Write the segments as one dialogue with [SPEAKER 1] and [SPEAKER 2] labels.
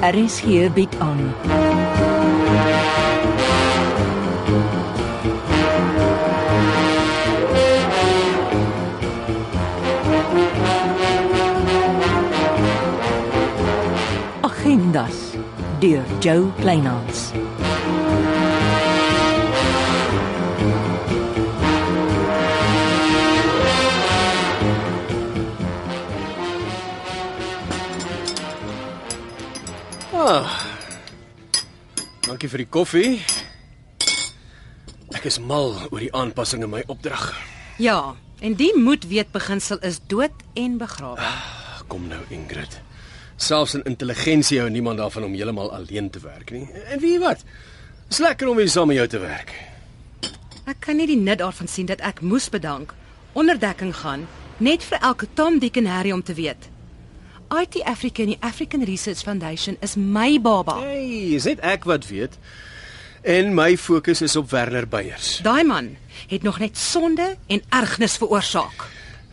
[SPEAKER 1] RSG bied aan. Agendas deur Jo Kleinhans.
[SPEAKER 2] Dankie vir die koffie. Ek is mal oor die aanpassing in my opdrag.
[SPEAKER 3] Ja, en die moet weet beginsel is dood en begrawe.
[SPEAKER 2] Ag, Kom nou Ingrid. Selfs in intelligensie hou niemand daarvan om heeltemal alleen te werk nie. En weet jy wat? Dis lekker om weer saam met jou te werk.
[SPEAKER 3] Ek kan nie die nut daarvan sien dat ek moes bedank, onderdekking gaan, net vir elke Tom Dick en Harry om te weet. IT Africa en die African Research Foundation is my baba.
[SPEAKER 2] Hey, is dit ek wat weet? En my fokus is op Werner Beyers.
[SPEAKER 3] Daai man het nog net sonde en ergernis veroorsaak.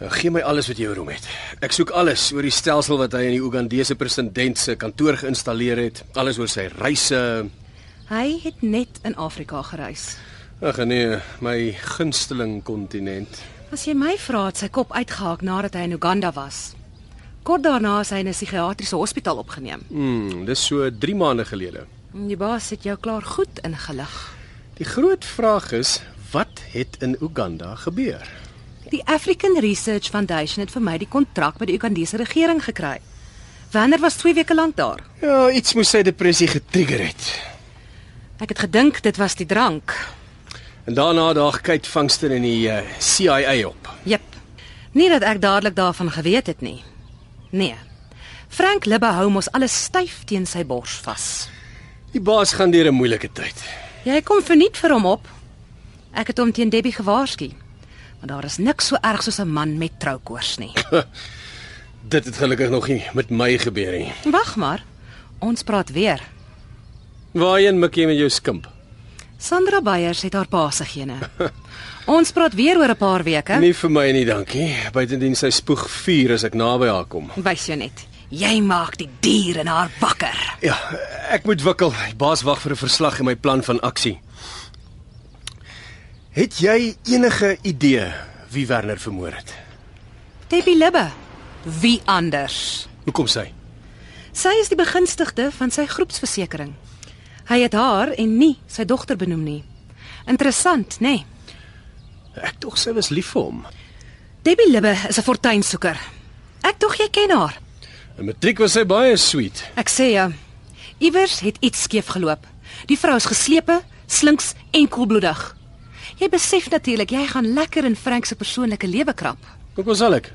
[SPEAKER 2] Nou, gee my alles wat jy oor hom het. Ek soek alles oor die stelsel wat hy in die Ugandese president se kantoor geïnstalleer het, alles oor sy reise.
[SPEAKER 3] Hy het net in Afrika gereis.
[SPEAKER 2] Ag nee, my gunsteling kontinent.
[SPEAKER 3] As jy my vra, het sy kop uitgehaak nadat hy in Uganda was. Kort daarna is hy in 'n psigiatriese hospitaal opgeneem.
[SPEAKER 2] Mm, dis so 3 maande gelede.
[SPEAKER 3] Die baas het jou klaar goed ingelig.
[SPEAKER 2] Die groot vraag is, wat het in Uganda gebeur?
[SPEAKER 3] Die African Research Foundation het vir my die kontrak met die Ugandese regering gekry. Wanneer was 2 weke lank daar?
[SPEAKER 2] Ja, iets moes sy depressie getrigger het.
[SPEAKER 3] Ek het gedink dit was die drank.
[SPEAKER 2] En daarna daag Kate Vangster in die uh, CIA op.
[SPEAKER 3] Jep. Nie dat ek dadelik daarvan geweet het nie. Nee. Frank Libbe hou mos alles styf teen sy bors vas.
[SPEAKER 2] Die baas gaan deur 'n moeilike tyd.
[SPEAKER 3] Jy kom verniet vir hom op. Ek het hom teen Debbie gewaarsku. Maar daar is niks so erg soos 'n man met troukoors nie.
[SPEAKER 2] Dit het gelukkig nog nie met my gebeur nie.
[SPEAKER 3] Wag maar. Ons praat weer.
[SPEAKER 2] Waarheen mik jy met jou skimp?
[SPEAKER 3] Sandra Beyers het haar pa se gene. Ons praat weer oor 'n paar weke.
[SPEAKER 2] Nie vir my nie, dankie. Buitendien sy spoeg vuur as ek naby haar kom.
[SPEAKER 3] Wys jou net. Jy maak die dier in haar wakker.
[SPEAKER 2] Ja, ek moet wikkel. Die baas wag vir 'n verslag en my plan van aksie. Het jy enige idee wie Werner vermoor het?
[SPEAKER 3] Debbie Libbe. Wie anders?
[SPEAKER 2] Hoekom sy?
[SPEAKER 3] Sy is die begunstigde van sy groepsversekering. Hy het haar en nie sy dogter benoem nie. Interessant, nê? Nee?
[SPEAKER 2] Ek tog sy was lief vir hom.
[SPEAKER 3] Debbie Libbe is 'n fortuinsoeker. Ek tog jy ken haar.
[SPEAKER 2] In matriek was sy baie sweet.
[SPEAKER 3] Ek sê jou, iewers het iets skeef geloop. Die vrou is geslepe, slinks en koelbloedig. Jy besef natuurlik jy gaan lekker in Frank se persoonlike lewe krap.
[SPEAKER 2] Hoekom sal ek?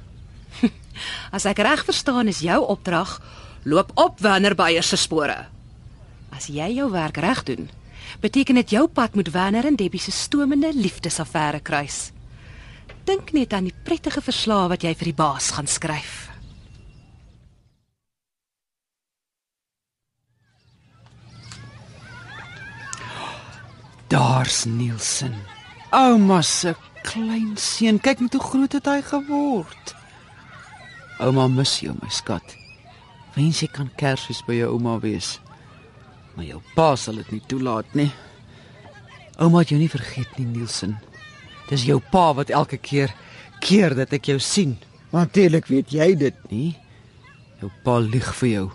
[SPEAKER 3] As ek reg verstaan is jou opdrag loop op Werner Beyer se spore. As jy jou werk reg doen, beteken dit jou pad moet Werner en Debbie se stomende liefdesaffære kruis. Dink net aan die prettige verslae wat jy vir die baas gaan skryf.
[SPEAKER 4] Daar's Nielsen. Ouma se klein seun, kyk net hoe groot het hy geword. Ouma mis jou, my skat. Wens jy kan Kersfees by jou ouma wees. Maar jou pa sal dit nie toelaat nie. Ouma het jou nie vergeet nie, Nielsen. Dis jou pa wat elke keer keer dat ek jou sien. Natuurlik weet jy dit nie. Jou pa lieg vir jou.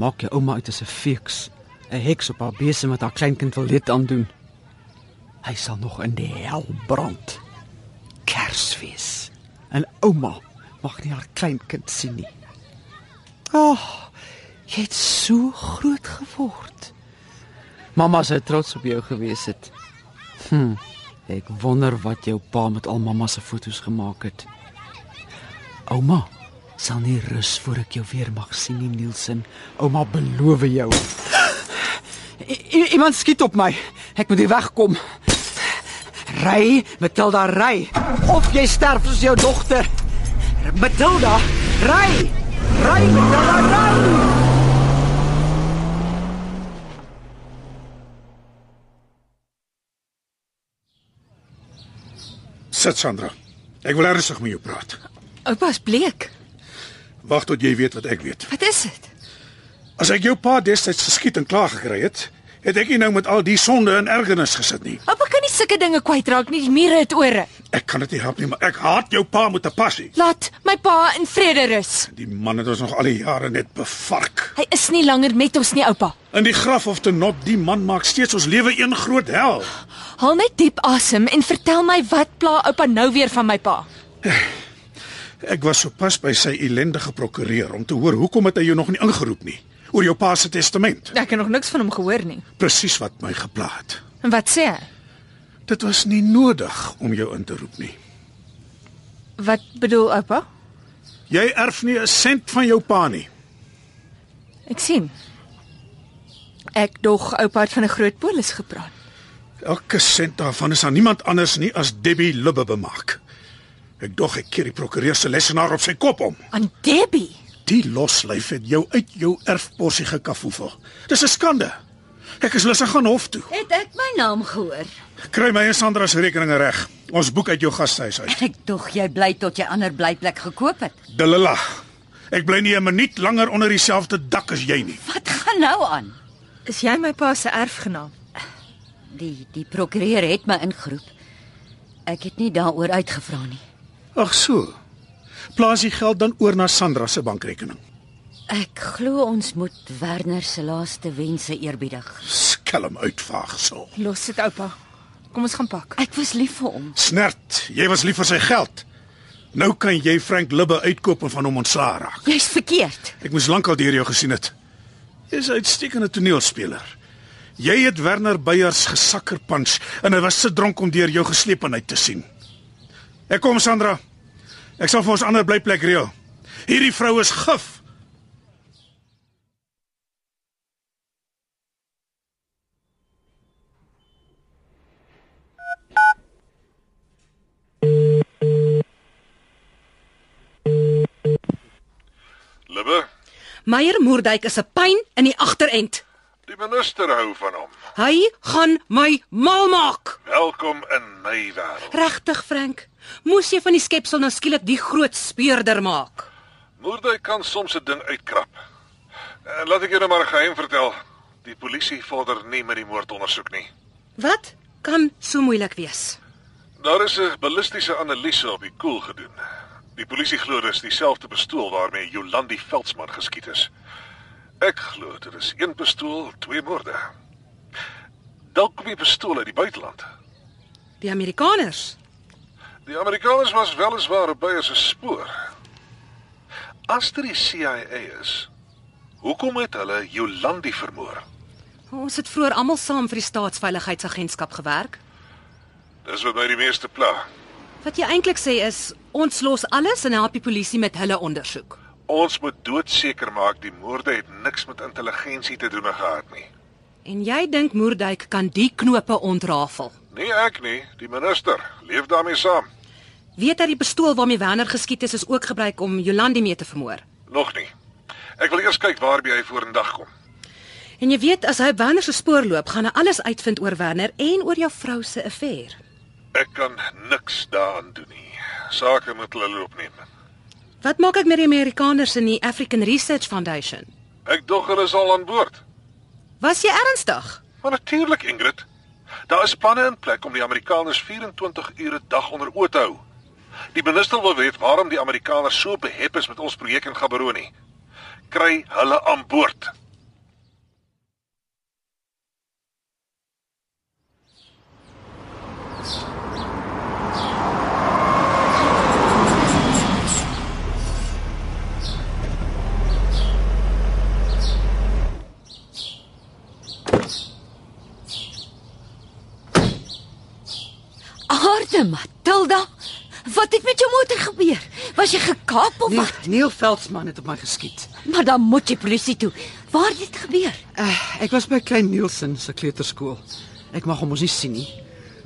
[SPEAKER 4] Maak jou ouma uit as 'n feeks, 'n heks op haar besem wat haar kleinkind wil dit aandoen. Hy sal nog in die hel brand. Kersfees. En ouma mag nie haar kleinkind sien nie. Ag, oh, jy het so groot geword. Mamma sou trots op jou gewees het. Hm. Ek wonder wat jou pa met al mamma se foto's gemaak het. Ouma sal nie rus voor ek jou weer mag sien nie, Nielsen. Ouma beloof jou. I i- iemand skiet op my. Ek moet hier wegkom. Ry, Matilda, ry of jy sterf soos jou dogter. Matilda, ry. Ry, Matilda, ry.
[SPEAKER 5] Sit Sandra. Ek wil ernstig met jou praat.
[SPEAKER 3] Oupa's bleek.
[SPEAKER 5] Wag tot jy weet wat ek weet.
[SPEAKER 3] Wat is dit?
[SPEAKER 5] As ek jou pa destyds geskiet en klaar gekry het, het ek nie nou met al die sonde en ergernis gesit nie.
[SPEAKER 6] Oupa kan nie sulke dinge kwytraak nie. Die mure het ore.
[SPEAKER 5] Ek kan dit nie help nie, maar ek haat jou pa met 'n passie.
[SPEAKER 6] Laat my pa in vrede rus.
[SPEAKER 5] Die man het ons nog al die jare net bevark.
[SPEAKER 6] Hy is nie langer met ons nie, oupa.
[SPEAKER 5] In die graf of te not, die man maak steeds ons lewe een groot hel.
[SPEAKER 6] Haal net diep asem en vertel my wat pla oupa nou weer van my pa.
[SPEAKER 5] Ek was sopas by sy ellendige prokureur om te hoor hoekom het hy jou nog nie ingeroep nie oor jou pa se testament.
[SPEAKER 6] Ek het nog niks van hom gehoor nie.
[SPEAKER 5] Presies wat my gepla het.
[SPEAKER 6] En wat sê hy?
[SPEAKER 5] Dit was nie nodig om jou in te roep nie.
[SPEAKER 6] Wat bedoel oupa?
[SPEAKER 5] Jy erf nie 'n sent van jou pa nie.
[SPEAKER 6] Ek sien. Ek dog oupa het van 'n groot polis gepraat.
[SPEAKER 5] Elke sent daarvan is aan niemand anders nie as Debbie Lubbe bemaak. Ek dog ek keer die prokureur se lesenaar op sy kop om.
[SPEAKER 6] Aan Debbie.
[SPEAKER 5] Die loslyf het jou uit jou erfposie gekafoefel. Dis 'n skande. Ek is lus om gaan hof toe.
[SPEAKER 7] Het ek my naam gehoor?
[SPEAKER 5] Kry my en Sandra se rekeninge reg. Ons boek uit jou gastehuis uit.
[SPEAKER 7] Ek tog jy bly tot jy ander blyplek gekoop het.
[SPEAKER 5] Delila. Ek bly nie 'n minuut langer onder dieselfde dak as jy nie.
[SPEAKER 7] Wat gaan nou aan?
[SPEAKER 6] Is jy my pa se erfgenaam?
[SPEAKER 7] Die die prokureur het my ingeroep. Ek het nie daaroor uitgevra nie.
[SPEAKER 5] Ag so. Plaas die geld dan oor na Sandra se bankrekening.
[SPEAKER 7] Ek glo ons moet Werner se laaste wense eerbiedig.
[SPEAKER 5] Skelm uitvaagsel.
[SPEAKER 6] Los dit oupa. Kom ons gaan pak.
[SPEAKER 7] Ek was lief vir hom.
[SPEAKER 5] Snert, jy was lief vir sy geld. Nou kan jy Frank Libbe uitkoop en van hom ontslaa raak.
[SPEAKER 7] Jy's verkeerd.
[SPEAKER 5] Ek moes lankal deur jou gesien het. Jy's 'n uitstekende toneelspeler. Jy het Werner Beyers gesakker punch en hy was se dronk om deur jou geslepenheid te sien. Ek kom Sandra. Ek sal vir ons ander blyplek reël. Hierdie vrou is gif.
[SPEAKER 8] Libbe,
[SPEAKER 3] Meyer Moerdijk is 'n pyn in die agterend.
[SPEAKER 8] die minister hou van hom.
[SPEAKER 3] Hy gaan my mal maak.
[SPEAKER 8] Welkom in my wêreld.
[SPEAKER 3] Regtig, Frank? Moes jy van die skepsel nou skielik die groot speurder maak?
[SPEAKER 8] Moordy kan soms 'n ding uitkrap. En laat ek julle maar 'n geheim vertel. Die polisie vorder nie met die moordondersoek nie.
[SPEAKER 3] Wat kan so moeilik wees?
[SPEAKER 8] Daar is 'n ballistiese analise op die koel gedoen. Die polisie glo dis dieselfde pistool waarmee Jolandi Veldsmann geskiet is. Ek glo dit is een pistool, twee moorde. Dalk kom die pistool uit die buiteland.
[SPEAKER 3] Die Amerikaners.
[SPEAKER 8] Die Amerikaners was weliswaar op Beyer se spoor. As dit die CIA is, hoekom het hulle Jolandi vermoor?
[SPEAKER 3] Ons het vroeër almal saam vir die staatsveiligheidsagentskap gewerk.
[SPEAKER 8] Dis wat my die meeste pla.
[SPEAKER 3] Wat jy eintlik sê is ons los alles en help die polisie met hulle ondersoek.
[SPEAKER 8] Ons moet doodseker maak die moorde het niks met intelligensie te doen gehad nie.
[SPEAKER 3] En jy dink Moerdijk kan die knope ontrafel?
[SPEAKER 8] Nee ek nie, die minister leef daarmee saam.
[SPEAKER 3] Weet hy die pistool waarmee Werner geskiet is is ook gebruik om Jolandi mee te vermoor?
[SPEAKER 8] Nog nie. Ek wil eers kyk waarby hy vorendag kom.
[SPEAKER 3] En jy weet as hy op Werner se spoor loop, gaan hy alles uitvind oor Werner en oor jou vrou se affære.
[SPEAKER 8] Ek kan niks daaraan doen nie. Sake moet hulle loop neem.
[SPEAKER 3] Wat maak ek met die Amerikaners in die African Research Foundation?
[SPEAKER 8] Ek dog hulle is al aan boord.
[SPEAKER 3] Was jy ernstig?
[SPEAKER 8] Maar natuurlik, Ingrid. Daar is planne in plek om die Amerikaners 24 ure 'n dag onder oë te hou. Die minister wil weet waarom die Amerikaners so behep is met ons projek in Gaborone. Kry hulle aan boord.
[SPEAKER 7] Aarde Matilda, wat het met jou motor gebeur? Was jy gekaap of
[SPEAKER 4] Nee,
[SPEAKER 7] wat?
[SPEAKER 4] Neil Veldsmann het op my geskiet.
[SPEAKER 7] Maar dan moet jy polisie toe. Waar het dit gebeur?
[SPEAKER 4] Uh, ek was by Klein Nielsen se kleuterskool. Ek mag hom mos nie sien nie.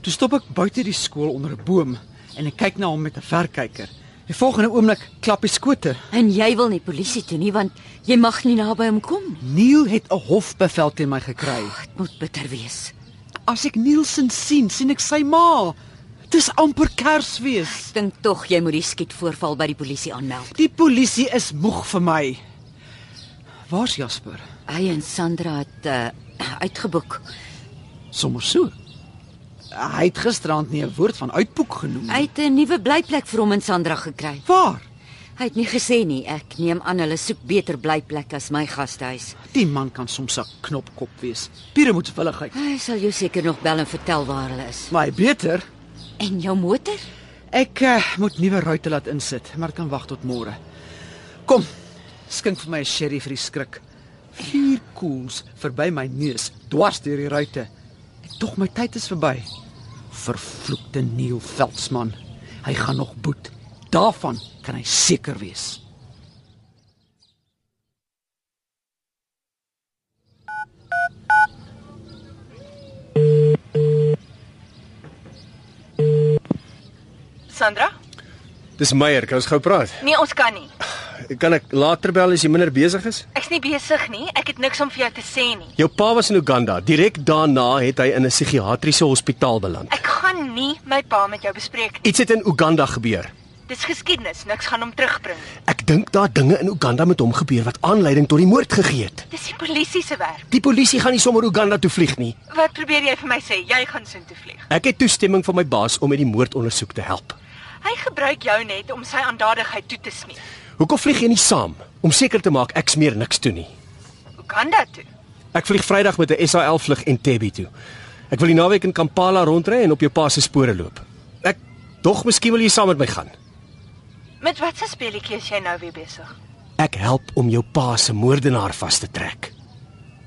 [SPEAKER 4] Toe stop ek buite die skool onder 'n boom en ek kyk na hom met 'n verkyker. Die volgende oomblik klap hy skote.
[SPEAKER 7] En jy wil nie polisie toe nie want jy mag nie naby hom kom nie.
[SPEAKER 4] Neil het 'n hofbevel teen my gekry.
[SPEAKER 7] Dit moet bitter wees.
[SPEAKER 4] As ek Nielsen sien, sien ek sy ma. Dis amper Kersfees.
[SPEAKER 7] Ek dink tog jy moet die skietvoorval by die polisie aanmeld.
[SPEAKER 4] Die polisie is moeg vir my. Waar's Jasper?
[SPEAKER 7] Hy en Sandra het uh, uitgeboek.
[SPEAKER 4] Sommers so. Hy het gisterand nie 'n woord van uitboek genoem nie.
[SPEAKER 7] Hy het 'n nuwe blyplek vir hom en Sandra gekry.
[SPEAKER 4] Waar?
[SPEAKER 7] Hy het nie gesê nie. Ek neem aan hulle soek beter blyplek as my gastehuis.
[SPEAKER 4] Die man kan soms 'n knopkop wees. Pure moet villigheid.
[SPEAKER 7] Hy sal jou seker nog bel en vertel waar hulle is.
[SPEAKER 4] Maar hy beter,
[SPEAKER 7] En jou motor?
[SPEAKER 4] ek uh, moet nuwe ruite laat insit, maar dit kan wag tot môre. Kom. Skink vir my 'n sherry vir die skrik. Vier koels verby my neus, dwars deur die ruite. En Tog my tyd is verby. Vervloekte Neil Veldsmann. Hy gaan nog boet. Daarvan kan hy seker wees.
[SPEAKER 6] Sandra?
[SPEAKER 2] Dis Meyer, kan ons gou praat?
[SPEAKER 6] Nee, ons kan nie.
[SPEAKER 2] Kan ek later bel as jy minder besig is?
[SPEAKER 6] Ek's nie besig nie. Ek het niks om vir jou te sê nie.
[SPEAKER 2] Jou pa was in Uganda. Direk daarna het hy in 'n psigiatriese hospitaal beland.
[SPEAKER 6] Ek gaan nie my pa met jou bespreek nie.
[SPEAKER 2] Iets het in Uganda gebeur.
[SPEAKER 6] Dis geskiedenis. Niks gaan hom terugbring nie.
[SPEAKER 2] Ek dink daar dinge in Uganda met hom gebeur wat aanleiding tot die moord gegee het.
[SPEAKER 6] Dis die polisie se werk.
[SPEAKER 2] Die polisie gaan nie sommer Uganda toe vlieg nie.
[SPEAKER 6] Wat probeer jy vir my sê? Jy gaan soontoe vlieg.
[SPEAKER 2] Ek het toestemming van my baas om met die moordondersoek te help.
[SPEAKER 6] Hy gebruik jou net om sy aandadigheid toe te smeer.
[SPEAKER 2] Hoekom vlieg jy nie saam om seker te maak ek smeer niks toe nie?
[SPEAKER 6] Hoe kan dit toe?
[SPEAKER 2] Ek vlieg Vrydag met 'n SAL vlug Entebbe toe. Ek wil die naweek in Kampala rondry en op jou pa se spore loop. Ek dog miskien wil jy saam met my gaan.
[SPEAKER 6] Met watse speletjie is jy nou weer besig?
[SPEAKER 2] Ek help om jou pa se moordenaar vas te trek.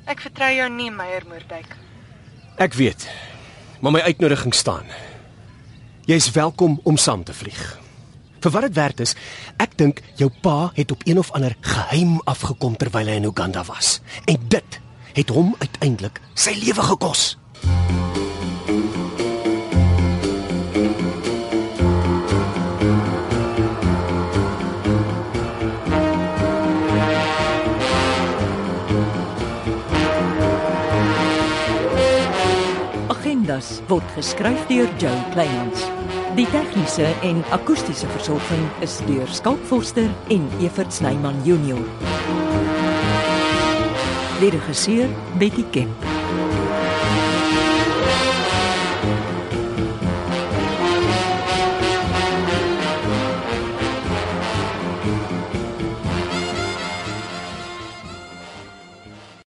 [SPEAKER 6] Ek vertrou jou nie, Meyer Moerdijk.
[SPEAKER 2] Ek weet. Maar my uitnodiging staan. Jy's welkom om saam te vlieg. Vir wat dit werd is, ek dink jou pa het op een of ander geheim afgekom terwyl hy in Uganda was. En dit het hom uiteindelik sy lewe gekos.
[SPEAKER 1] Agendas word geskryf deur Joe Kleinhans. Die tegniese en akoestiese versorging is deur Skalk Forster en Evert Snyman Junior. Lede geseer Betty Kemp.